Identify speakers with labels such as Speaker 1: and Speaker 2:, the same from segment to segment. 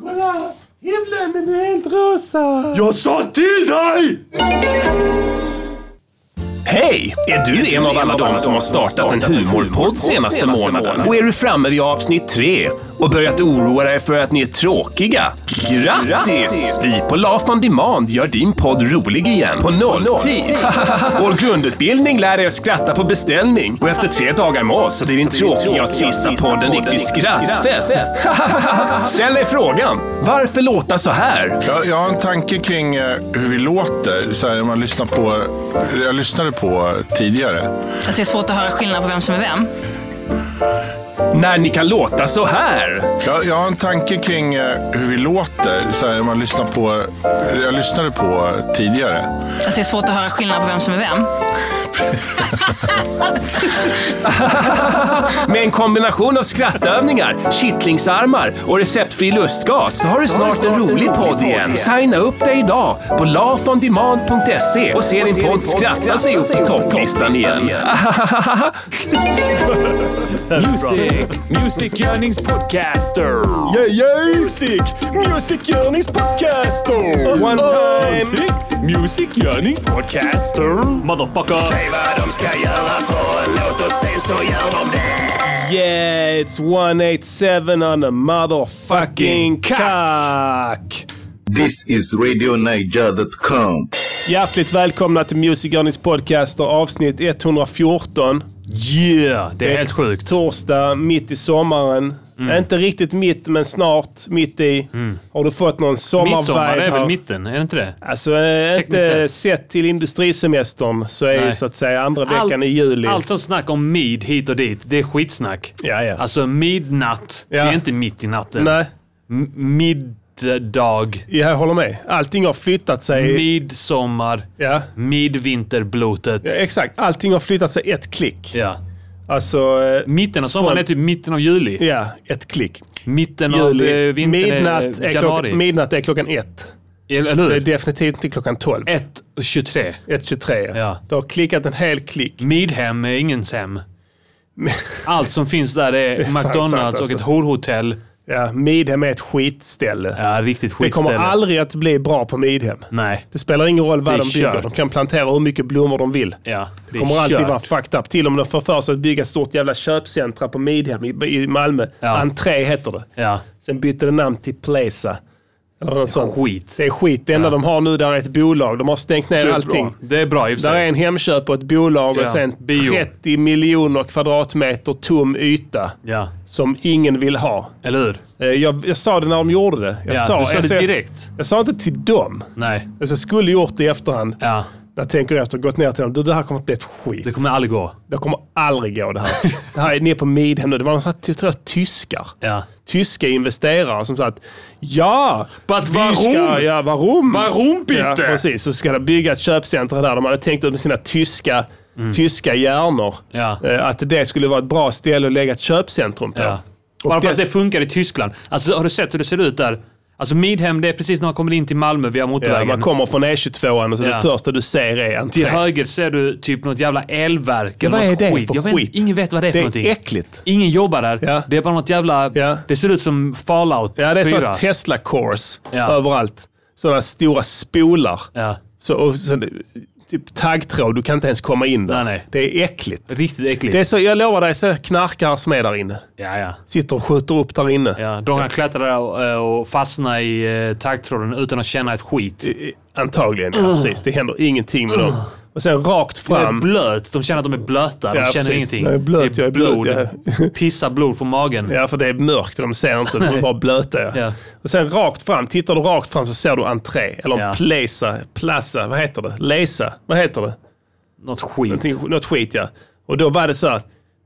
Speaker 1: bara! Himlen är helt rosa!
Speaker 2: Jag sa till dig!
Speaker 3: Hej! Är du en av alla de som har startat en humorpodd senaste månaden? Och är du framme vid avsnitt tre och börjat oroa dig för att ni är tråkiga? Grattis! Vi på Laugh on Demand gör din podd rolig igen på nolltid. Vår grundutbildning lär er skratta på beställning och efter tre dagar med oss blir din tråkiga och trista podd en riktig skrattfest. Ställ dig frågan, varför låta så här?
Speaker 4: Jag, jag har en tanke kring eh, hur vi låter. Så här, man lyssnar på, jag lyssnade på tidigare.
Speaker 5: Att det är svårt att höra skillnad på vem som är vem.
Speaker 3: När ni kan låta så här?
Speaker 4: Jag, jag har en tanke kring eh, hur vi låter. Så här, man lyssnar på, jag lyssnade på tidigare.
Speaker 5: Att det är svårt att höra skillnad på vem som är vem.
Speaker 3: Med en kombination av skrattövningar, kittlingsarmar och receptfri lustgas så har du snart en rolig podd igen. Signa upp dig idag på lafondemand.se och se din podd skratta sig upp på topplistan igen.
Speaker 6: Music, Music Yearnings Podcaster.
Speaker 2: Yeah, yeah.
Speaker 6: Music, Music Yearnings Podcaster.
Speaker 2: One time.
Speaker 6: Music, Music Yearnings Podcaster. Motherfucker.
Speaker 2: Yeah, it's 187 on a motherfucking cock!
Speaker 7: This is RadioNiger.com.
Speaker 2: Hjärtligt välkomna till Music Earnings Podcaster avsnitt 114.
Speaker 6: Yeah, det är helt sjukt.
Speaker 2: Torsdag, mitt i sommaren.
Speaker 6: Mm.
Speaker 2: Inte riktigt mitt, men snart mitt i. Har du fått någon sommarvibe?
Speaker 6: Midsommar det är
Speaker 2: här?
Speaker 6: väl mitten, är det inte det?
Speaker 2: Alltså, eh,
Speaker 6: Tekniskt
Speaker 2: inte
Speaker 6: sett.
Speaker 2: sett till industrisemestern så är ju
Speaker 6: Nej.
Speaker 2: så att säga andra
Speaker 6: Allt-
Speaker 2: veckan i juli.
Speaker 6: Allt sånt snack om mid hit och dit, det är skitsnack.
Speaker 2: Ja, ja.
Speaker 6: Alltså midnatt, det
Speaker 2: Ja.
Speaker 6: är inte mitt i natten.
Speaker 2: Nej,
Speaker 6: M- middag,
Speaker 2: jag håller med. Allting har flyttat sig.
Speaker 6: midsommar,
Speaker 2: ja.
Speaker 6: midvinterblotet.
Speaker 2: Ja, Exakt, allting har flyttat sig ett klick.
Speaker 6: Ja.
Speaker 2: Alltså, eh,
Speaker 6: Mitten av sommaren
Speaker 2: Fan.
Speaker 6: är typ mitten av juli.
Speaker 2: ja, ett klick.
Speaker 6: Mitten av
Speaker 2: Juli.
Speaker 6: eh, vintern
Speaker 2: Midnatt
Speaker 6: är eh,
Speaker 2: är, klockan,
Speaker 6: januari.
Speaker 2: midnatt är klockan ett.
Speaker 6: Eller eller
Speaker 2: Det är
Speaker 6: hur?
Speaker 2: definitivt inte klockan 12.
Speaker 6: 1 och 23.
Speaker 2: 1.23.
Speaker 6: Ja.
Speaker 2: Det har klickat en hel klick.
Speaker 6: Midhem är ingens hem. Allt som finns där är,
Speaker 2: fan
Speaker 6: McDonalds
Speaker 2: sant,
Speaker 6: och
Speaker 2: alltså.
Speaker 6: ett horhotell.
Speaker 2: Ja, Midhem är ett skitställe.
Speaker 6: Ja, riktigt
Speaker 2: det kommer
Speaker 6: skitställe.
Speaker 2: aldrig att bli bra på Midhem.
Speaker 6: Nej.
Speaker 2: Det spelar ingen roll vad
Speaker 6: Det är
Speaker 2: de bygger.
Speaker 6: kört.
Speaker 2: De kan plantera hur mycket blommor de vill.
Speaker 6: Ja, det
Speaker 2: Det
Speaker 6: är
Speaker 2: kommer alltid
Speaker 6: kört.
Speaker 2: vara fucked up. Till och med de får för sig att bygga ett stort jävla köpcentra på Midhem i, i Malmö.
Speaker 6: Ja.
Speaker 2: Entré heter det.
Speaker 6: Ja.
Speaker 2: Sen bytte det namn till Plaza. Eller något sånt.
Speaker 6: Skit.
Speaker 2: Det är skit. Det enda de har nu där är ett bolag. De har stängt ner
Speaker 6: Det är
Speaker 2: allting.
Speaker 6: bra. Det är bra i och för
Speaker 2: Där är
Speaker 6: sig.
Speaker 2: en Hemköp och ett bolag
Speaker 6: Ja,
Speaker 2: och sen
Speaker 6: bio.
Speaker 2: 30 miljoner kvadratmeter tom yta
Speaker 6: Ja,
Speaker 2: som ingen vill ha.
Speaker 6: eller hur?
Speaker 2: Eh, Jag, jag sa det när de gjorde det. Jag
Speaker 6: Ja,
Speaker 2: sa,
Speaker 6: du sa
Speaker 2: alltså,
Speaker 6: det
Speaker 2: jag-
Speaker 6: direkt.
Speaker 2: Jag, sa inte till dem.
Speaker 6: Nej.
Speaker 2: Alltså, jag skulle gjort det i efterhand.
Speaker 6: Ja,
Speaker 2: När jag tänker efter, gått ner till dem. Du, det här kommer att bli ett skit.
Speaker 6: det kommer aldrig gå.
Speaker 2: Det kommer aldrig gå det här. det här är nere på Midhem nu. Det var några sån här, jag tror jag, tyskar.
Speaker 6: Ja.
Speaker 2: Tyska investerare som sa att ja,
Speaker 6: But
Speaker 2: vi
Speaker 6: warum?
Speaker 2: ska- Ja, varum?
Speaker 6: Varum bitte?
Speaker 2: Ja, precis. Så ska de bygga ett köpcenter där. De hade tänkt ut med sina tyska, tyska hjärnor
Speaker 6: Mm. Ja.
Speaker 2: eh, att det skulle vara ett bra ställe att lägga ett köpcentrum på.
Speaker 6: Ja.
Speaker 2: Och
Speaker 6: Bara för
Speaker 2: det-
Speaker 6: att det funkar i Tyskland. Alltså, har du sett hur det ser ut där? Alltså Midhem, det är precis när man kommer in till Malmö via
Speaker 2: Ja,
Speaker 6: motorvägen.
Speaker 2: man kommer från E22 och så det
Speaker 6: Ja.
Speaker 2: första du ser är entré.
Speaker 6: till höger ser du typ något jävla elverk. eller
Speaker 2: vad är
Speaker 6: något
Speaker 2: det
Speaker 6: skit.
Speaker 2: för
Speaker 6: Jag vet,
Speaker 2: skit?
Speaker 6: Ingen vet vad det är för
Speaker 2: Det är
Speaker 6: någonting.
Speaker 2: äckligt.
Speaker 6: Ingen jobbar där.
Speaker 2: Ja.
Speaker 6: Det är bara något jävla...
Speaker 2: Ja.
Speaker 6: Det ser ut som Fallout
Speaker 2: Ja, det är
Speaker 6: 4.
Speaker 2: sådana tesla cores
Speaker 6: Ja.
Speaker 2: överallt. Sådana stora spolar.
Speaker 6: Ja.
Speaker 2: Så, och, så, typ taggtråd, du kan inte ens komma in där.
Speaker 6: Nej, nej.
Speaker 2: Det är äckligt.
Speaker 6: Riktigt äckligt.
Speaker 2: Det är så, jag lovar dig, så här knarkare som är där inne.
Speaker 6: Ja, ja.
Speaker 2: Sitter och skjuter upp där inne.
Speaker 6: ja. De kan klättra där och, och fastna i eh, taggtråden utan att känna ett skit.
Speaker 2: I- Antagligen, ja, precis. Det händer ingenting med dem. Och sen rakt
Speaker 6: De är
Speaker 2: fram.
Speaker 6: blöt. De känner att de är blöta. De
Speaker 2: Ja,
Speaker 6: känner
Speaker 2: precis.
Speaker 6: ingenting.
Speaker 2: Jag är blöt,
Speaker 6: det
Speaker 2: jag är
Speaker 6: är
Speaker 2: blöt,
Speaker 6: blod.
Speaker 2: ja.
Speaker 6: Pissar blod från magen.
Speaker 2: Ja, för det är mörkt och de ser inte. De är bara blöta. Ja.
Speaker 6: Ja.
Speaker 2: Och sen rakt fram. Tittar du rakt fram så ser du entré. Eller en
Speaker 6: Ja.
Speaker 2: plaza. Plaza. Vad heter det? Lesa. Vad heter det?
Speaker 6: Något skit.
Speaker 2: Någonting, något skit, ja. Och då var det så här.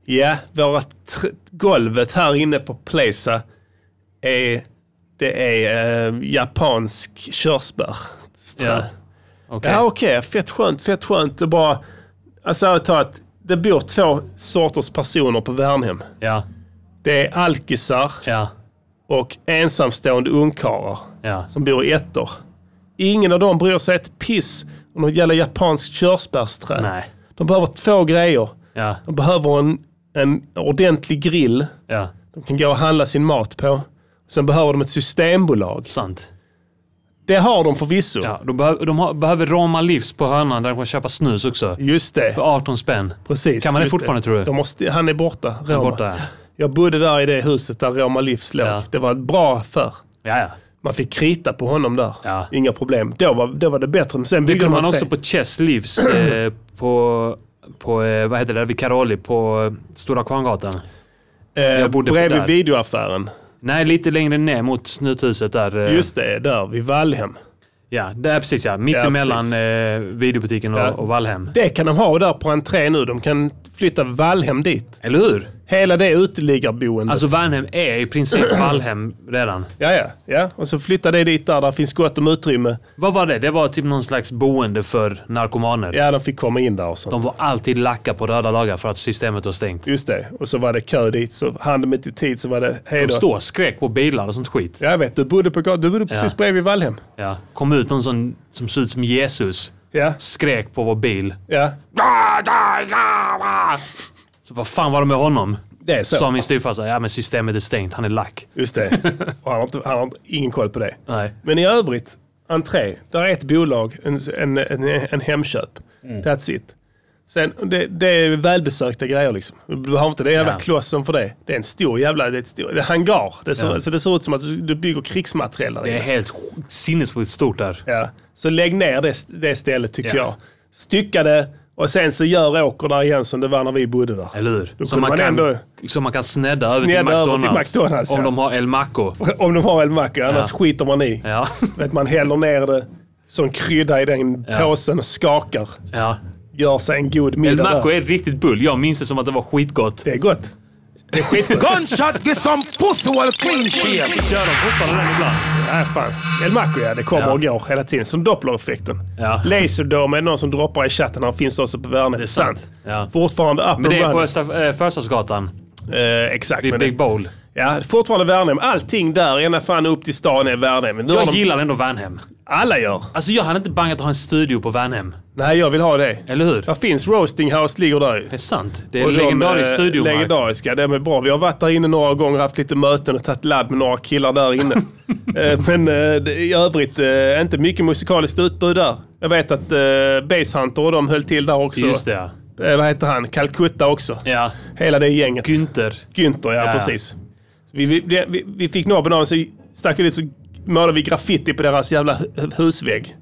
Speaker 2: Ja, våra tr- golvet här inne på plaza är... Det är eh, japansk körsbär.
Speaker 6: Ja. Okej.
Speaker 2: Ja, okej. Fett skönt, fett skönt. Det bara... Alltså, ärligt talat. Det bor två sorters personer på Värnhem.
Speaker 6: Ja.
Speaker 2: Det är alkisar
Speaker 6: Ja.
Speaker 2: och ensamstående ungkarlar
Speaker 6: Ja.
Speaker 2: som bor i ettor. Ingen av dem bryr sig ett piss om något jävla japanskt körsbärsträd.
Speaker 6: Nej.
Speaker 2: De behöver två grejer.
Speaker 6: Ja.
Speaker 2: De behöver en, en ordentlig grill
Speaker 6: Ja.
Speaker 2: de kan gå och handla sin mat på. Sen behöver de ett systembolag.
Speaker 6: Sant.
Speaker 2: Det har de förvisso.
Speaker 6: Ja, de, behöv, de har, behöver Roma Livs på hörnan där de kan köpa snus också.
Speaker 2: Just det.
Speaker 6: För 18 spänn.
Speaker 2: Precis.
Speaker 6: Kan man det
Speaker 2: just
Speaker 6: fortfarande tror du?
Speaker 2: De måste, han är borta. Roma.
Speaker 6: Där borta.
Speaker 2: Jag bodde där i det huset där Roma Livs låg.
Speaker 6: Ja.
Speaker 2: Det var bra för.
Speaker 6: Ja, ja.
Speaker 2: Man fick krita på honom där.
Speaker 6: Ja.
Speaker 2: Inga problem. Då var, då var det bättre. Men sen
Speaker 6: Det
Speaker 2: byggde
Speaker 6: kunde
Speaker 2: man
Speaker 6: man också
Speaker 2: tre.
Speaker 6: på Chess Livs eh, på, på eh, vad heter det, vid Karoli på eh, Stora Kvarngatan.
Speaker 2: eh,
Speaker 6: jag bodde på
Speaker 2: bredvid
Speaker 6: där.
Speaker 2: videoaffären.
Speaker 6: Nej, lite längre ner mot snuthuset där. eh,
Speaker 2: Just det, där vid Valhem.
Speaker 6: Ja, där precis ja. Mitt
Speaker 2: Ja,
Speaker 6: emellan
Speaker 2: precis.
Speaker 6: eh, videobutiken och,
Speaker 2: Ja.
Speaker 6: och Valhem.
Speaker 2: Det kan de ha där på entré nu. De kan flytta Valhem dit.
Speaker 6: Eller hur?
Speaker 2: Hela det uteliggarboendet.
Speaker 6: Alltså Valhem är i princip Valhem redan.
Speaker 2: Ja, ja, ja. Och så flytta det dit där. Där finns gott om utrymme.
Speaker 6: Vad var det? Det var typ någon slags boende för narkomaner.
Speaker 2: Ja, de fick komma in där och sånt.
Speaker 6: De var alltid lacka på röda dagar för att systemet var stängt.
Speaker 2: Just det. Och så var det kö dit. Så hann de inte i tid så var det hej
Speaker 6: De
Speaker 2: då.
Speaker 6: står och skrek på bilar och sånt skit.
Speaker 2: Ja, Jag vet, du bodde, på, gat- du bodde precis bredvid Valhem.
Speaker 6: Ja. Kom ut någon som, som såg ut som Jesus.
Speaker 2: Ja,
Speaker 6: Skrek på vår bil.
Speaker 2: ja.
Speaker 6: Så vad fan var det med honom?
Speaker 2: Det är så.
Speaker 6: Sa min styvfarsa. Ja men systemet är stängt. Han är lack.
Speaker 2: Just det. Och han har, inte, han har inte, ingen koll på det.
Speaker 6: Nej.
Speaker 2: Men i övrigt, entré. Där är ett bolag, en, en, en, en Hemköp.
Speaker 6: Mm.
Speaker 2: That's it. Sen, det, det är välbesökta grejer liksom. Du behöver inte den jävla
Speaker 6: Ja.
Speaker 2: klossen för det. Det är en stor jävla det är ett stor, det är hangar. Det ser,
Speaker 6: Ja.
Speaker 2: Så det ser ut som att du, du bygger krigsmateriel där
Speaker 6: Det är
Speaker 2: inne.
Speaker 6: helt sinnessjukt stort där.
Speaker 2: Ja. Så lägg ner det, st- det stället tycker
Speaker 6: Ja.
Speaker 2: jag. Stycka det och sen så gör Åker där igen som det var när vi bodde där.
Speaker 6: Eller hur?
Speaker 2: Då
Speaker 6: Som
Speaker 2: kunde
Speaker 6: man,
Speaker 2: man
Speaker 6: kan,
Speaker 2: ändå-
Speaker 6: som man kan snedda över till
Speaker 2: Snedda över
Speaker 6: McDonalds.
Speaker 2: till McDonald's,
Speaker 6: om
Speaker 2: ja.
Speaker 6: de har El Maco.
Speaker 2: Om de har en macka, annars
Speaker 6: Ja.
Speaker 2: skiter man i.
Speaker 6: Ja.
Speaker 2: Vet, man häller ner det som krydda i den
Speaker 6: Ja.
Speaker 2: påsen och skakar.
Speaker 6: ja.
Speaker 2: Gör sig en god
Speaker 6: El
Speaker 2: middag
Speaker 6: Maco
Speaker 2: där.
Speaker 6: är riktigt bull. Jag minns det som att det var skitgott.
Speaker 2: Det är gott. Det är skitgott.
Speaker 3: Gunshot, get some pussy while clean shit!
Speaker 6: Kör de fortfarande den ibland?
Speaker 2: Nej, fan. El Maco, ja. Det kommer
Speaker 6: Ja.
Speaker 2: och går hela tiden. Som Dopplereffekten.
Speaker 6: Ja.
Speaker 2: Laserdome är någon som droppar i chatten. Han finns också på Värnet. Det är
Speaker 6: sant. Ja.
Speaker 2: Fortfarande up
Speaker 6: Men det är
Speaker 2: and
Speaker 6: på
Speaker 2: running.
Speaker 6: Östra eh, Förstadsgatan.
Speaker 2: Eh, exakt.
Speaker 6: Vid
Speaker 2: men det-
Speaker 6: Big Bowl.
Speaker 2: ja, fortfarande Värnhem. Allting där, ena fan upp till stan är Värnhem. Men Nu har
Speaker 6: Jag
Speaker 2: de-
Speaker 6: gillar ändå Värnhem.
Speaker 2: Alla gör.
Speaker 6: Alltså jag hade inte bangat att ha en studio på Värnhem.
Speaker 2: Nej, jag vill ha det.
Speaker 6: Eller hur?
Speaker 2: Där finns Roasting House, ligger där ju.
Speaker 6: Det är sant. Det är
Speaker 2: Och
Speaker 6: en
Speaker 2: de,
Speaker 6: legendarisk
Speaker 2: eh,
Speaker 6: studio, Mark.
Speaker 2: Legendariska, de är bra. Vi har varit där inne några gånger, haft lite möten och tagit ladd med några killar där inne. Eh, Men eh, det- i övrigt, eh, inte mycket musikaliskt utbud där. Jag vet att eh, Basshunter och de höll till där också.
Speaker 6: Just det, ja.
Speaker 2: Eh, Vad heter han? Calcutta också.
Speaker 6: Ja.
Speaker 2: Hela det gänget.
Speaker 6: Günther.
Speaker 2: Günther, ja,
Speaker 6: Ja.
Speaker 2: precis. Vi, vi, det- vi, vi fick nobben av honom, så stack vi dit så målade vi graffiti på deras jävla hu- husvägg.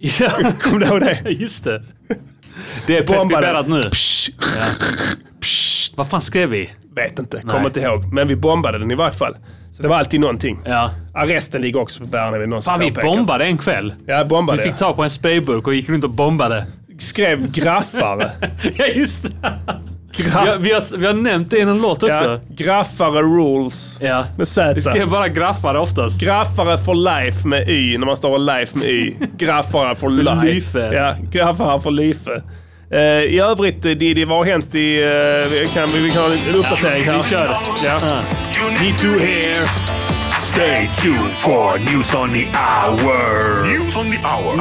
Speaker 6: Ja,
Speaker 2: Kommer du ihåg det?
Speaker 6: just det. Det är
Speaker 2: Bombade.
Speaker 6: preskriberat nu. Ja. Vad fan skrev vi?
Speaker 2: Vet inte,
Speaker 6: Nej.
Speaker 2: kommer inte ihåg. Men vi bombade den i varje fall. Så det var alltid någonting.
Speaker 6: Ja.
Speaker 2: Arresten ligger också på Värnamo. någon som
Speaker 6: Fan, vi
Speaker 2: påpekas.
Speaker 6: bombade en kväll.
Speaker 2: Ja,
Speaker 6: Vi
Speaker 2: bombade.
Speaker 6: fick tag på en sprayburk och gick runt och bombade.
Speaker 2: Skrev graffare.
Speaker 6: Ja, just det.
Speaker 2: Graff...
Speaker 6: Ja, vi, har, vi har nämnt det i någon låt
Speaker 2: ja,
Speaker 6: också.
Speaker 2: graffare rules.
Speaker 6: Ja.
Speaker 2: Med
Speaker 6: Vi
Speaker 2: Z.
Speaker 6: skrev bara graffare oftast.
Speaker 2: Graffare for life med Y, när man stavar life med Y. Graffare for life.
Speaker 6: lyfe.
Speaker 2: Ja, graffare for lyfe. Eh, I övrigt eh, Didi, vad har hänt i... eh, vi kan, vi kan ha en uppdatering här.
Speaker 6: vi kör.
Speaker 2: Ja.
Speaker 7: You need to hear. Stay tuned for news on the hour. News on the hour.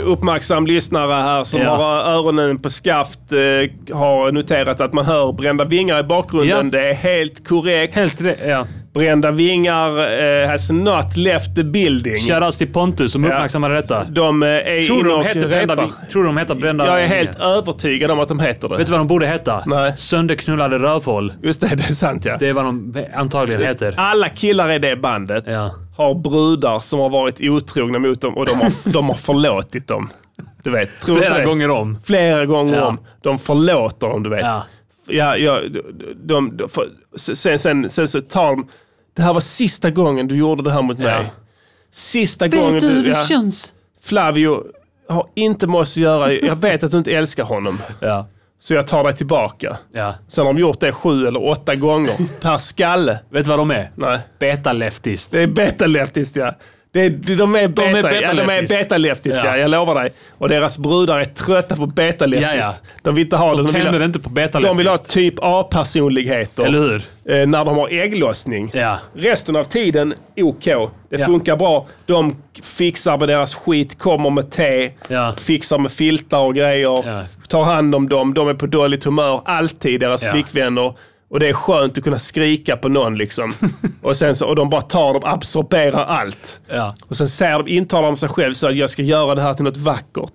Speaker 2: Någon eh, uppmärksam lyssnare här som
Speaker 6: Ja.
Speaker 2: har öronen på skaft eh, har noterat att man hör brända vingar i bakgrunden.
Speaker 6: Ja.
Speaker 2: Det är helt korrekt.
Speaker 6: Helt rätt. Ja.
Speaker 2: Brända vingar eh, has not left the building.
Speaker 6: Shoutouts till Pontus som uppmärksammade detta.
Speaker 2: De eh, är
Speaker 6: Tror
Speaker 2: inne
Speaker 6: de
Speaker 2: och
Speaker 6: heter
Speaker 2: repar.
Speaker 6: Brända Vi- Tror de heter Brända
Speaker 2: Jag är
Speaker 6: Vinge?
Speaker 2: helt övertygad om att de heter det.
Speaker 6: Vet du vad de borde heta?
Speaker 2: Nej.
Speaker 6: Sönderknullade rövhål.
Speaker 2: Just det, det är sant ja.
Speaker 6: Det är vad de antagligen heter.
Speaker 2: Alla killar i det bandet
Speaker 6: Ja.
Speaker 2: har brudar som har varit otrogna mot dem och de har, de har förlåtit dem. Du vet, tror du
Speaker 6: Flera
Speaker 2: det?
Speaker 6: gånger om.
Speaker 2: Flera gånger
Speaker 6: Ja.
Speaker 2: om. De förlåter dem, du vet.
Speaker 6: Ja.
Speaker 2: Ja, ja, de, de, de, för, sen, sen, sen så tar de... Det här var sista gången du gjorde det här mot
Speaker 6: Ja.
Speaker 2: mig. Sista gången ja.
Speaker 6: känns?
Speaker 2: Flavio har inte med oss att göra. Jag vet att du inte älskar honom.
Speaker 6: Ja.
Speaker 2: Så jag tar dig tillbaka.
Speaker 6: ja.
Speaker 2: Sen har de gjort det sju eller åtta gånger per skalle.
Speaker 6: Vet du vad de är?
Speaker 2: Nej.
Speaker 6: Betaleftiskt.
Speaker 2: Det är betaleftiskt ja. Det är, de är beta, ja, de är
Speaker 6: betaleftiskt.
Speaker 2: betaleftiskt ja.
Speaker 6: Ja.
Speaker 2: jag lovar dig. Och deras brudar är trötta på betaleftiskt.
Speaker 6: Ja, ja.
Speaker 2: De vill inte ha
Speaker 6: De
Speaker 2: det. De vill
Speaker 6: tänder
Speaker 2: ha,
Speaker 6: inte på betaleftiskt.
Speaker 2: de vill ha typ A-personligheter.
Speaker 6: Eller hur?
Speaker 2: Eh, när de har ägglossning.
Speaker 6: Ja.
Speaker 2: Resten av tiden, OK. Det
Speaker 6: Ja.
Speaker 2: funkar bra. De fixar med deras skit, kommer med te,
Speaker 6: Ja.
Speaker 2: fixar med filtar och grejer.
Speaker 6: Ja.
Speaker 2: Tar hand om dem. De är på dåligt humör alltid, deras
Speaker 6: Ja.
Speaker 2: flickvänner. Och det är skönt att kunna skrika på någon liksom. Och, sen så, och de bara tar, de absorberar allt.
Speaker 6: Ja.
Speaker 2: Och sen säger de, intalar de sig själv så att jag ska göra det här till något vackert.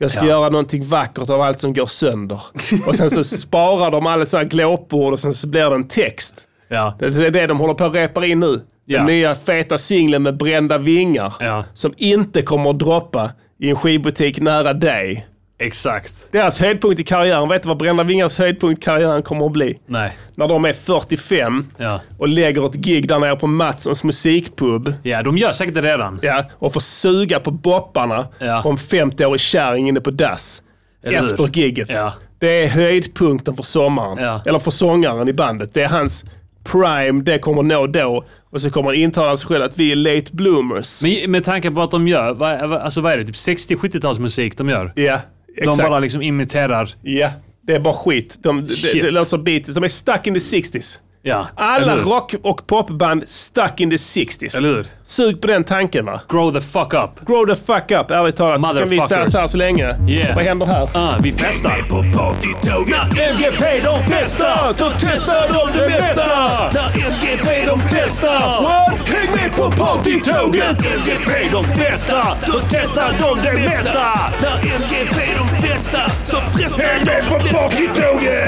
Speaker 2: Jag ska
Speaker 6: Ja.
Speaker 2: göra någonting vackert av allt som går sönder. Och sen så sparar de alla så här glåpord och sen så blir det en text.
Speaker 6: Ja.
Speaker 2: Det det är det de håller på att repa in nu.
Speaker 6: Ja.
Speaker 2: Den nya feta singeln med brända vingar.
Speaker 6: Ja.
Speaker 2: Som inte kommer att droppa i en skivbutik nära dig.
Speaker 6: Exakt.
Speaker 2: Deras höjdpunkt i karriären, vet du vad brända vingars höjdpunkt i karriären kommer att bli?
Speaker 6: Nej.
Speaker 2: När de är 45
Speaker 6: Ja.
Speaker 2: och lägger ett gig där nere på Mattssons musikpub.
Speaker 6: Ja, de gör säkert det redan.
Speaker 2: Ja, och får suga på bopparna
Speaker 6: Ja.
Speaker 2: på en 50-årig kärring inne på dass.
Speaker 6: Eller hur?
Speaker 2: efter gigget.
Speaker 6: Ja.
Speaker 2: Det är höjdpunkten för sommaren.
Speaker 6: Ja.
Speaker 2: Eller för sångaren i bandet. Det är hans prime, det kommer nå då. Och så kommer han intala sig själv att vi är late bloomers.
Speaker 6: Men med tanke på att de gör, vad, vad- alltså vad är det, typ 60-70-talsmusik de gör?
Speaker 2: ja,
Speaker 6: De
Speaker 2: exakt.
Speaker 6: bara liksom imiterar.
Speaker 2: Ja, det är bara skit. De, det,
Speaker 6: Shit.
Speaker 2: det låter som Beatles. De är stuck in the 60s.
Speaker 6: Ja.
Speaker 2: Alla
Speaker 6: eller hur?
Speaker 2: rock och popband stuck in the 60s.
Speaker 6: Eller hur?
Speaker 2: Sug på den tanken va.
Speaker 6: Grow the fuck up.
Speaker 2: Grow the fuck up, ärligt talat. Så Kan vi säga
Speaker 6: Motherfuckers.
Speaker 2: så här så länge?
Speaker 6: Yeah.
Speaker 2: Vad händer här?
Speaker 6: Ah, vi festar.
Speaker 7: På partytågna
Speaker 2: MGP de testar, så testar de det mesta!
Speaker 7: När MGP de testar
Speaker 2: Häng med på partytåget!
Speaker 7: När MGP de testar Då testar de det mesta När MGP de testar Så frestar de på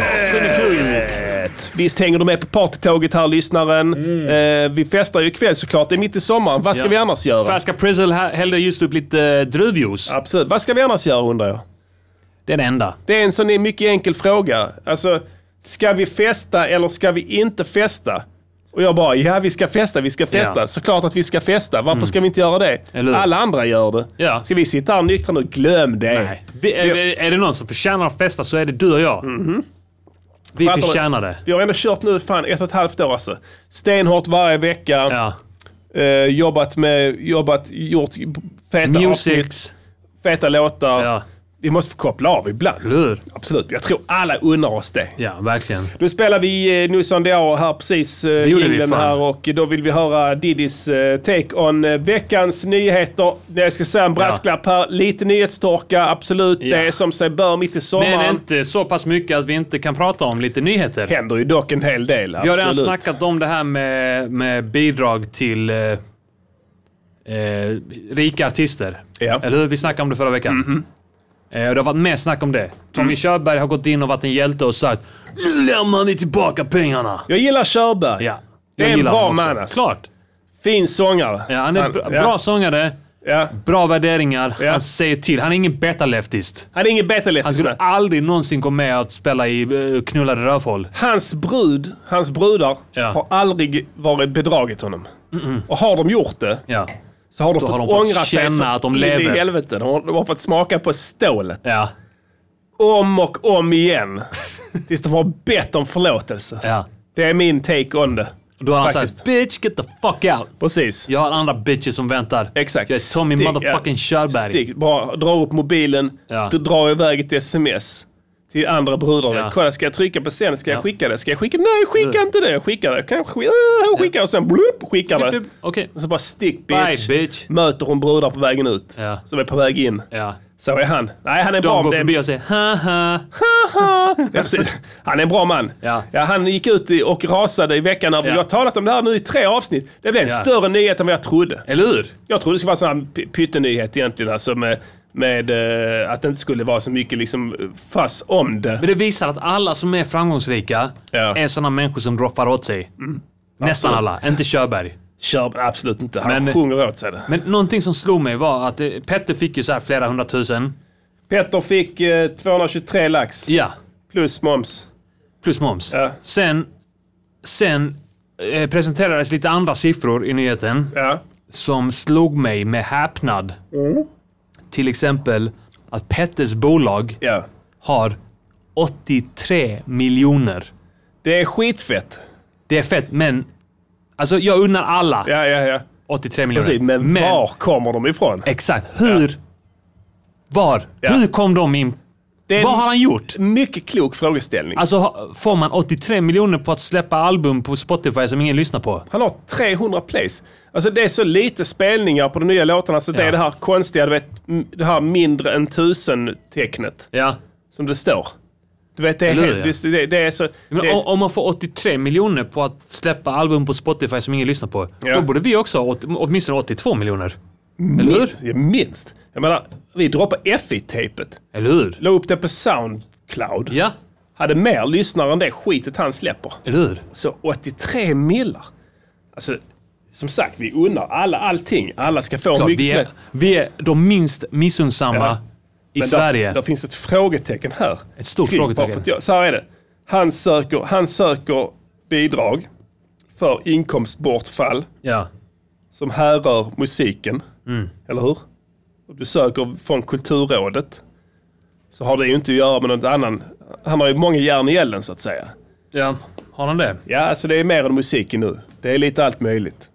Speaker 7: partytåget
Speaker 2: Visst hänger du med på partytåget här lyssnaren? Eh, vi festar ju ikväll såklart, det är mitt i sommaren. Vad ska
Speaker 6: Ja.
Speaker 2: vi annars göra?
Speaker 6: Färska Prizzle här hällde just upp lite eh, druvjuice.
Speaker 2: Absolut, vad ska vi annars göra undrar jag?
Speaker 6: Det är det enda.
Speaker 2: Det är en sån här mycket enkel fråga. Alltså, ska vi festa eller ska vi inte festa? Och jag bara, ja vi ska festa, vi ska festa.
Speaker 6: Ja.
Speaker 2: Såklart att vi ska festa. Varför ska vi inte göra det?
Speaker 6: Eller hur?
Speaker 2: Alla andra gör det.
Speaker 6: Ja.
Speaker 2: Ska vi sitta här nyktra nu? Glöm det.
Speaker 6: Nej. Eh, Vi, är, är det någon som förtjänar att festa så är det du och jag. Vi
Speaker 2: Mhm. Fattar du?
Speaker 6: förtjänar det.
Speaker 2: Vi har ändå kört nu fan ett och ett halvt år alltså. Stenhårt varje vecka.
Speaker 6: Ja.
Speaker 2: Eh, jobbat med, jobbat, gjort feta avsnitt,
Speaker 6: Music.
Speaker 2: feta låtar.
Speaker 6: Ja.
Speaker 2: Vi måste få koppla av ibland.
Speaker 6: Eller hur?
Speaker 2: Absolut, jag tror alla unnar oss det.
Speaker 6: Ja, verkligen.
Speaker 2: Nu spelar vi eh, Nussan Diao här precis, eh,
Speaker 6: gjorde vi,
Speaker 2: jinglen
Speaker 6: fan.
Speaker 2: här och då vill vi höra Didis eh, take on eh, veckans nyheter. Jag ska säga en brasklapp här, lite nyhetstorka, absolut.
Speaker 6: Ja.
Speaker 2: Det är som sig bör mitt i sommaren.
Speaker 6: Men inte så pass mycket att vi inte kan prata om lite nyheter.
Speaker 2: händer ju dock en hel del.
Speaker 6: Vi har redan
Speaker 2: absolut.
Speaker 6: snackat om det här med, med bidrag till eh, eh, rika artister.
Speaker 2: Ja. Mhm.
Speaker 6: Eller hur? Vi snackade om det förra veckan. Eh, och det har varit mer snack om det. Tommy
Speaker 2: Mm.
Speaker 6: Körberg har gått in och varit en hjälte och sagt Nu lämnar vi tillbaka pengarna!
Speaker 2: Jag gillar Körberg.
Speaker 6: Ja.
Speaker 2: Det är
Speaker 6: Jag
Speaker 2: en
Speaker 6: gillar
Speaker 2: bra
Speaker 6: honom också.
Speaker 2: man, alltså.
Speaker 6: Klart.
Speaker 2: Fin sångare.
Speaker 6: Ja, han är bra,
Speaker 2: ja.
Speaker 6: bra sångare,
Speaker 2: Ja.
Speaker 6: bra värderingar,
Speaker 2: Ja.
Speaker 6: han säger till. Han är ingen beta-leftist.
Speaker 2: Han är ingen betalett.
Speaker 6: Han skulle aldrig någonsin gå med att spela i eh, knullade rövhål.
Speaker 2: Hans brud, hans brudar,
Speaker 6: Ja.
Speaker 2: har aldrig varit bedragit honom. Och har de gjort det
Speaker 6: Ja.
Speaker 2: så har de fått
Speaker 6: har de fått
Speaker 2: ångra sig
Speaker 6: känna
Speaker 2: så
Speaker 6: att de
Speaker 2: in
Speaker 6: lever.
Speaker 2: i helvete. De har, de har fått smaka på stålet.
Speaker 6: Ja.
Speaker 2: Om och om igen. Tills de har bett om förlåtelse.
Speaker 6: Ja.
Speaker 2: Det är min take on det.
Speaker 6: Då har han
Speaker 2: Faktiskt.
Speaker 6: sagt “Bitch, get the fuck out!”
Speaker 2: Precis.
Speaker 6: Jag har andra bitches som väntar.
Speaker 2: Exakt.
Speaker 6: Jag är Tommy
Speaker 2: Stick,
Speaker 6: motherfucking
Speaker 2: ja.
Speaker 6: Körberg.
Speaker 2: Stick. Bara dra upp mobilen,
Speaker 6: Ja.
Speaker 2: du drar iväg ett sms till andra brudar.
Speaker 6: Ja.
Speaker 2: Kolla, ska jag trycka på sen? Ska jag
Speaker 6: Ja. Mm.
Speaker 2: skicka det? Ska jag skicka? Nej, skicka inte det. Skicka det. Kanske. Äh, skicka och sen blup, skickar det.
Speaker 6: Okej. Okay.
Speaker 2: Och så bara stick bitch.
Speaker 6: Bye bitch.
Speaker 2: Möter hon brudar på vägen ut.
Speaker 6: Ja.
Speaker 2: Som är på väg in.
Speaker 6: Ja.
Speaker 2: Så är han. Nej, han är
Speaker 6: De
Speaker 2: bra. men
Speaker 6: går
Speaker 2: det är-
Speaker 6: förbi och säger haha.
Speaker 2: Ja, precis. Han är en bra man.
Speaker 6: Ja.
Speaker 2: han gick ut i- och rasade i veckan. När Vi
Speaker 6: Ja.
Speaker 2: har talat om det här nu i tre avsnitt. Det blev en
Speaker 6: Ja.
Speaker 2: större nyhet än vad jag trodde.
Speaker 6: Eller hur?
Speaker 2: Jag trodde det skulle vara en sån här py- pyttenyhet egentligen. Alltså med, med eh, att det inte skulle vara så mycket liksom eh, fass om det.
Speaker 6: Men det visar att alla som är framgångsrika
Speaker 2: Ja. Mm.
Speaker 6: är sådana människor som roffar åt sig. Nästan alla. Inte Körberg.
Speaker 2: Kör absolut inte. Han
Speaker 6: Men-
Speaker 2: sjunger åt sig det.
Speaker 6: Men någonting som slog mig var att eh, Petter fick ju så här flera hundratusen.
Speaker 2: Petter fick eh, 223 lax.
Speaker 6: Ja.
Speaker 2: Plus moms.
Speaker 6: Plus moms.
Speaker 2: Ja.
Speaker 6: Sen, sen eh, presenterades lite andra siffror i nyheten.
Speaker 2: Ja.
Speaker 6: som slog mig med häpnad.
Speaker 2: Mm.
Speaker 6: Till exempel att Petters bolag
Speaker 2: ja.
Speaker 6: har 83 miljoner.
Speaker 2: Det är skitfett.
Speaker 6: Det är fett, men alltså jag unnar alla
Speaker 2: Ja, ja, ja.
Speaker 6: 83 miljoner.
Speaker 2: Precis, men, var kommer de ifrån?
Speaker 6: Exakt. Hur? Var?
Speaker 2: Ja.
Speaker 6: Hur kom de in?
Speaker 2: Det är
Speaker 6: Vad har
Speaker 2: en Mm.
Speaker 6: han gjort?
Speaker 2: mycket klok frågeställning.
Speaker 6: Alltså ha- får man 83 miljoner på att släppa album på Spotify som ingen lyssnar på?
Speaker 2: Han har 300 plays. Alltså det är så lite spelningar på de nya låtarna så det
Speaker 6: Ja.
Speaker 2: är det här konstiga, du vet, m- det här mindre än tusen-tecknet
Speaker 6: Ja.
Speaker 2: som det står. Du vet, det är,
Speaker 6: Eller hur,
Speaker 2: helt-
Speaker 6: ja.
Speaker 2: just det, det är så...
Speaker 6: Men
Speaker 2: det,
Speaker 6: om, om man får 83 miljoner på att släppa album på Spotify som ingen lyssnar på,
Speaker 2: Ja.
Speaker 6: då borde vi också ha åt, åtminstone 82 miljoner. Eller hur?
Speaker 2: Ja, minst. Jag menar, vi droppade FI-tejpet.
Speaker 6: Eller hur?
Speaker 2: La upp det på Soundcloud.
Speaker 6: Ja,
Speaker 2: Hade mer lyssnare än det skitet han släpper.
Speaker 6: eller hur?
Speaker 2: Så 83 millar. Alltså, som sagt, vi unnar alla allting. Alla ska få
Speaker 6: Klart,
Speaker 2: mycket
Speaker 6: vi, är,
Speaker 2: som-
Speaker 6: vi är de minst missunnsamma
Speaker 2: Ja.
Speaker 6: i
Speaker 2: Men
Speaker 6: Sverige.
Speaker 2: Där, där finns ett frågetecken här.
Speaker 6: Ett stort
Speaker 2: Kring-
Speaker 6: frågetecken.
Speaker 2: bara för att jag- Så här är det. Han söker, han söker bidrag för inkomstbortfall
Speaker 6: ja.
Speaker 2: som härrör musiken. Eller hur? Och du söker från Kulturrådet. Så har det ju inte att göra med något annan. Han har ju många järn i elden så att säga.
Speaker 6: ja, har han det?
Speaker 2: Ja, alltså det är mer än musiken nu. Det är lite allt möjligt.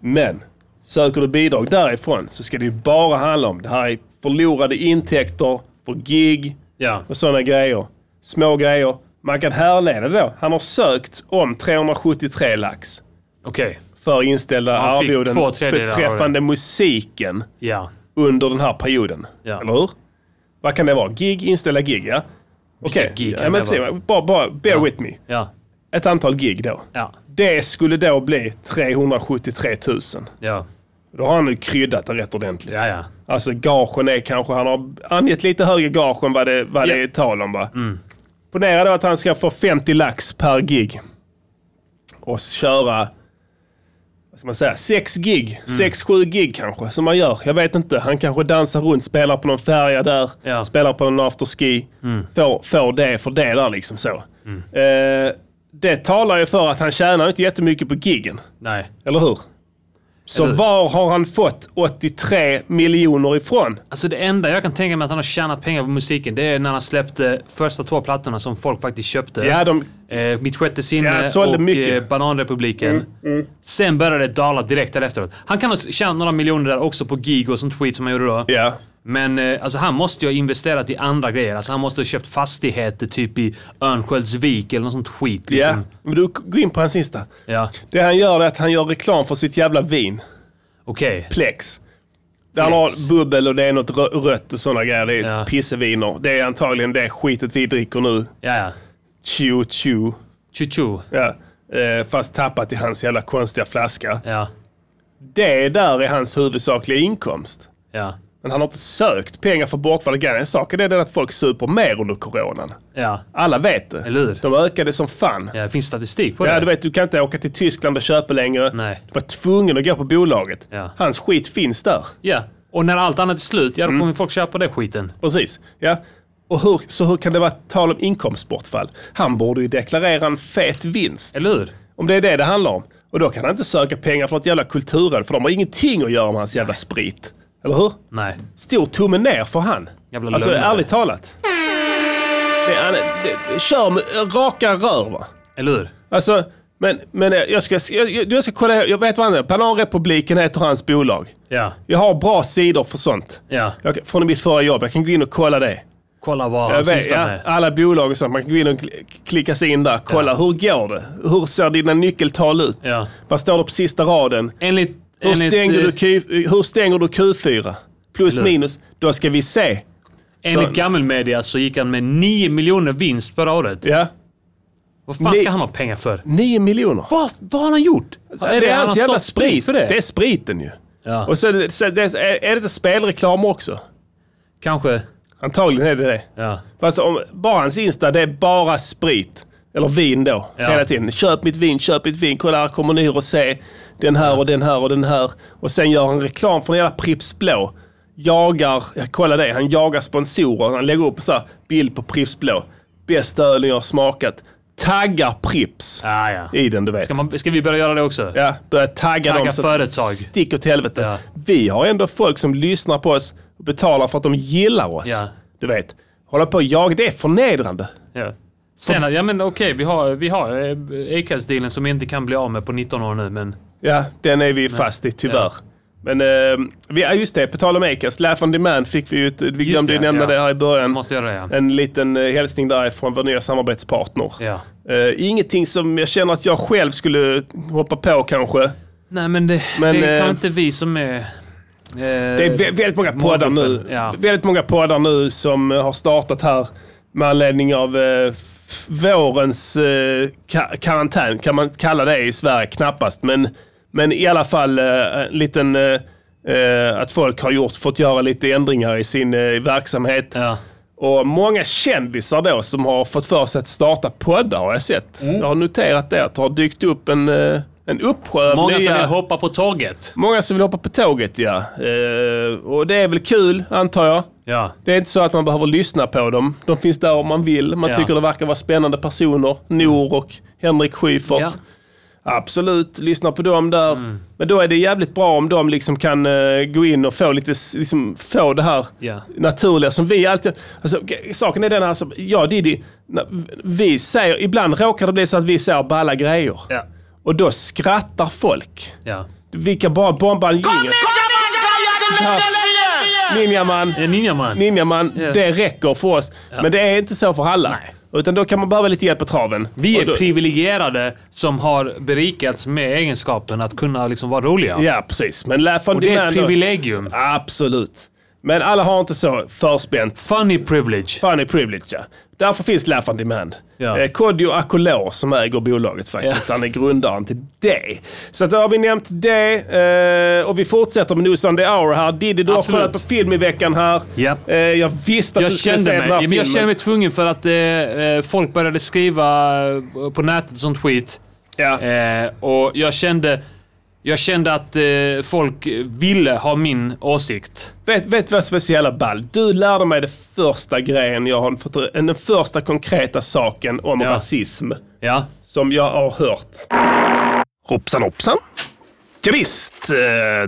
Speaker 2: Men söker du bidrag därifrån så ska det ju bara handla om det här är förlorade intäkter för gig
Speaker 6: Ja.
Speaker 2: och sådana grejer. Små grejer. Man kan härleda då. Han har sökt om 373 lax
Speaker 6: Okej.
Speaker 2: för inställda
Speaker 6: Han fick
Speaker 2: arvoden
Speaker 6: två tredjedelar av det.
Speaker 2: beträffande musiken
Speaker 6: Ja.
Speaker 2: under den här perioden.
Speaker 6: Ja.
Speaker 2: Eller hur? Vad kan det vara? Gig, inställda gig, ja. Okej,
Speaker 6: gig
Speaker 2: ja,
Speaker 6: kan
Speaker 2: men
Speaker 6: det vara?
Speaker 2: precis. bara, bara bear with me.
Speaker 6: Ja.
Speaker 2: Ett antal gig då.
Speaker 6: Ja.
Speaker 2: Det skulle då bli 373 000.
Speaker 6: Ja.
Speaker 2: Då har han nu kryddat det rätt ordentligt.
Speaker 6: Ja, ja.
Speaker 2: Alltså gagen är kanske, han har angett lite högre gage än vad det, vad det
Speaker 6: Ja. Mm.
Speaker 2: är tal om va? Ponera då att han ska få 50 lax per gig. Och köra, vad ska man säga, 6 gig.
Speaker 6: Mm.
Speaker 2: 6-7 gig kanske, som man gör. Jag vet inte, han kanske dansar runt, spelar på någon färja där,
Speaker 6: Ja. Mm.
Speaker 2: spelar på någon afterski. Får, får det för det där liksom så. Eh, det talar ju för att han tjänar inte jättemycket på giggen.
Speaker 6: Nej.
Speaker 2: Eller hur? Så
Speaker 6: Eller hur?
Speaker 2: var har han fått 83 miljoner ifrån?
Speaker 6: Alltså det enda jag kan tänka mig att han har tjänat pengar på musiken, det är när han släppte första två plattorna som folk faktiskt köpte.
Speaker 2: Ja, de,
Speaker 6: Eh, mitt sjätte sinne
Speaker 2: Ja, sålde
Speaker 6: och
Speaker 2: mycket. Mm,
Speaker 6: Eh, Bananrepubliken. Sen började det dala direkt därefter. Han kan ha tjänat några miljoner där också på gig och sånt skit som han gjorde då.
Speaker 2: ja.
Speaker 6: Men eh, alltså, han måste ju ha investerat i andra grejer. Alltså, han måste ha köpt fastigheter typ i Örnsköldsvik eller något sånt skit.
Speaker 2: ja.
Speaker 6: Liksom.
Speaker 2: Men du, gå in på hans sista.
Speaker 6: Ja.
Speaker 2: Det han gör är att han gör reklam för sitt jävla vin,
Speaker 6: Okej.
Speaker 2: Plex. Där han
Speaker 6: Plex.
Speaker 2: har bubbel och det är något rö- rött och sådana grejer. Det är
Speaker 6: Ja.
Speaker 2: pisseviner. Det är antagligen det skitet vi dricker nu.
Speaker 6: Ja, ja.
Speaker 2: Chiu chiu.
Speaker 6: Chuchu.
Speaker 2: Ja. Eh, fast tappat i hans jävla konstiga flaska.
Speaker 6: Ja.
Speaker 2: Det där är hans huvudsakliga inkomst.
Speaker 6: Ja.
Speaker 2: Men han har inte sökt pengar för bortfall. Grejen är- Saken är den att folk super mer under coronan.
Speaker 6: Ja.
Speaker 2: Alla vet det.
Speaker 6: Eller hur?
Speaker 2: De ökade som fan.
Speaker 6: ja. Finns statistik på det?
Speaker 2: Ja, du vet, du kan inte åka till Tyskland och köpa längre.
Speaker 6: Nej.
Speaker 2: Du var tvungen att gå på bolaget.
Speaker 6: Ja.
Speaker 2: Hans skit finns där.
Speaker 6: Ja. Och när allt annat är slut, ja
Speaker 2: Mm.
Speaker 6: då kommer folk köpa den skiten.
Speaker 2: Precis. Ja. Och hur, så hur kan det vara tal om inkomstbortfall? Han borde ju deklarera en fet vinst.
Speaker 6: Eller hur?
Speaker 2: Om det är det det handlar om. Och då kan han inte söka pengar från ett jävla kulturråd, för de har ingenting att göra med hans jävla sprit. Eller hur?
Speaker 6: Nej.
Speaker 2: Stor tumme ner för han.
Speaker 6: Jävla
Speaker 2: alltså,
Speaker 6: lögnare.
Speaker 2: ärligt talat. Det, han, det, kör med raka rör, va?
Speaker 6: Eller hur?
Speaker 2: Alltså, men, men jag, ska, jag, jag- jag ska kolla, jag vet vad han är. Bananrepubliken heter hans bolag.
Speaker 6: Ja.
Speaker 2: Jag har bra sidor för sånt.
Speaker 6: Ja.
Speaker 2: Jag, från mitt förra jobb, jag kan gå in och kolla det.
Speaker 6: Kolla vad han
Speaker 2: Jag vet,
Speaker 6: sysslar
Speaker 2: ja,
Speaker 6: med.
Speaker 2: alla bolag och sånt, man kan gå in och kli- klicka sig in där, kolla hur går det? Hur ser dina nyckeltal ut?
Speaker 6: Ja.
Speaker 2: Vad står det på sista raden?
Speaker 6: Enligt...
Speaker 2: Hur,
Speaker 6: enligt,
Speaker 2: stänger,
Speaker 6: eh,
Speaker 2: du Q, hur stänger du Q4? Plus
Speaker 6: Eller-
Speaker 2: minus, då ska vi se.
Speaker 6: enligt
Speaker 2: så-
Speaker 6: gammelmedia så gick han med 9 miljoner vinst förra året.
Speaker 2: Ja.
Speaker 6: Vad fan
Speaker 2: Ni-
Speaker 6: ska han ha pengar för?
Speaker 2: nio miljoner.
Speaker 6: Vad, vad har han gjort?
Speaker 2: det, är hans
Speaker 6: han
Speaker 2: jävla
Speaker 6: sålt
Speaker 2: sprit.
Speaker 6: för det?
Speaker 2: är spriten ju.
Speaker 6: Ja.
Speaker 2: Och så, är det- så är det, är det inte spelreklam också?
Speaker 6: Kanske.
Speaker 2: Antagligen är det det.
Speaker 6: Ja.
Speaker 2: Fast om, bara hans Insta, det är bara sprit. Eller vin då,
Speaker 6: Ja.
Speaker 2: hela tiden. Köp mitt vin, köp mitt vin. Kolla här kommer ni och se. Den här och den här och den här. Och sen gör han reklam för en jävla Pripps Blå. Jagar, ja, kolla det, han jagar sponsorer. Han lägger upp så här bild på Pripps Blå. Bästa ölen jag har smakat. Taggar Pripps
Speaker 6: Ah, ja.
Speaker 2: i den, du vet.
Speaker 6: Ska, man, ska vi börja göra det också?
Speaker 2: Ja, börja tagga,
Speaker 6: Tagga
Speaker 2: dem så att det
Speaker 6: företag.
Speaker 2: sticker till helvete.
Speaker 6: Ja.
Speaker 2: Vi har ändå folk som lyssnar på oss och betalar för att de gillar oss.
Speaker 6: Ja.
Speaker 2: Du vet, hålla på och jaga, det är förnedrande.
Speaker 6: Ja. Sen, ja men okej, vi har, vi har eh, Acast-dealen som vi inte kan bli av med på 19 år nu, men...
Speaker 2: Ja, den är vi fast i tyvärr. Men eh, vi, ja, just det, på tal om Acast, Laugh on Demand fick vi ju, ett- vi glömde ju
Speaker 6: det,
Speaker 2: nämna
Speaker 6: ja.
Speaker 2: det här i början.
Speaker 6: Måste göra det, ja.
Speaker 2: En liten eh, hälsning därifrån vår nya samarbetspartner.
Speaker 6: Ja.
Speaker 2: Eh, ingenting som jag känner att jag själv skulle hoppa på kanske.
Speaker 6: Nej, men det,
Speaker 2: Men,
Speaker 6: det är
Speaker 2: eh,
Speaker 6: kanske inte vi som är... eh,
Speaker 2: Det är vä- väldigt många poddar nu.
Speaker 6: Målgruppen, ja.
Speaker 2: Väldigt många poddar nu som eh, har startat här med anledning av eh, f- vårens eh, ka- karantän. Kan man kalla det i Sverige? Knappast. Men, men i alla fall eh, en liten... Eh, eh, att folk har gjort, fått göra lite ändringar i sin eh, verksamhet.
Speaker 6: Ja.
Speaker 2: Och många kändisar då som har fått för sig att starta poddar har jag sett.
Speaker 6: Mm.
Speaker 2: Jag har noterat det. Att det har dykt upp en, eh, en uppsjö av
Speaker 6: Många
Speaker 2: nya...
Speaker 6: som vill hoppa på tåget.
Speaker 2: Många som vill hoppa på tåget, ja. Eh, och det är väl kul, antar jag.
Speaker 6: Ja.
Speaker 2: Det är inte så att man behöver lyssna på dem. De finns där om man vill. Man
Speaker 6: Ja.
Speaker 2: tycker det verkar vara spännande personer. Nor och Henrik Schyffert.
Speaker 6: Ja. Mm.
Speaker 2: Absolut, lyssna på dem där. Men då är det jävligt bra om de liksom kan eh, gå in och få, lite, s- liksom, få det här
Speaker 6: Ja.
Speaker 2: naturliga som vi alltid... Alltså, g- saken är den här, alltså, jag och Diddy, när vi säger, ibland råkar det bli så att vi säger balla grejer.
Speaker 6: Ja.
Speaker 2: Och då skrattar folk.
Speaker 6: ja.
Speaker 2: Vilka bara bombar en jingel. Ninjaman,
Speaker 6: Eh, Ninjaman.
Speaker 2: Ninjaman,
Speaker 6: Ja.
Speaker 2: det räcker för oss. Men det är inte så för alla. Utan då kan man behöva lite hjälp på traven.
Speaker 6: Vi
Speaker 2: Och
Speaker 6: är
Speaker 2: då,
Speaker 6: privilegierade som har berikats med egenskapen att kunna liksom vara roliga.
Speaker 2: Ja, precis. Men laugh on
Speaker 6: Och det är
Speaker 2: demand
Speaker 6: ett
Speaker 2: då-
Speaker 6: privilegium.
Speaker 2: Absolut. Men alla har inte så förspänt.
Speaker 6: Funny privilege.
Speaker 2: Funny privilege, ja. Därför finns Laugh on Demand.
Speaker 6: Ja.
Speaker 2: Eh, Kodjo Akolor som äger bolaget faktiskt. Han är grundaren till det. Så att då har vi nämnt det. Eh, och vi fortsätter med News on the Hour här. Diddy, du har
Speaker 6: Absolut.
Speaker 2: kollat på film i veckan här.
Speaker 6: Ja.
Speaker 2: Eh, jag visste att
Speaker 6: Jag
Speaker 2: du skulle se
Speaker 6: kände,
Speaker 2: den
Speaker 6: mig,
Speaker 2: här
Speaker 6: ja, men
Speaker 2: filmen.
Speaker 6: jag kände mig tvungen för att eh, eh, folk började skriva eh, på nätet och sånt skit.
Speaker 2: Ja.
Speaker 6: Eh, och jag kände, jag kände att eh, folk ville ha min åsikt.
Speaker 2: Vet, vet vad som är så jävla ball? Du lärde mig den första grejen jag har fått, den första konkreta saken om
Speaker 6: Ja.
Speaker 2: rasism
Speaker 6: Ja.
Speaker 2: som jag har hört.
Speaker 3: Hoppsan hoppsan. Ja, visst, eh,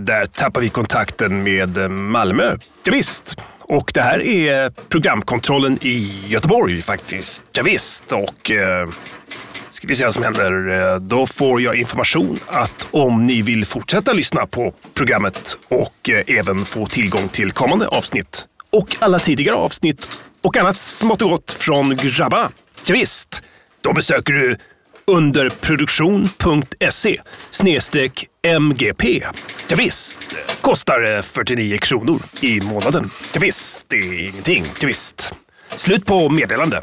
Speaker 3: där tappar vi kontakten med eh, Malmö. Ja, visst. Och det här är programkontrollen i Göteborg faktiskt. Ja, visst. och eh, ska vi se vad som händer. Eh, Då får jag information att om ni vill fortsätta lyssna på programmet och eh, även få tillgång till kommande avsnitt och alla tidigare avsnitt och annat smått och gott från grabbarna. Ja, visst. då besöker du underproduktion.se E snedstreck MGP. Ja, visst. kostar eh, 49 kronor i månaden. Ja, visst. det är ingenting. Ja, visst. Slut på meddelande.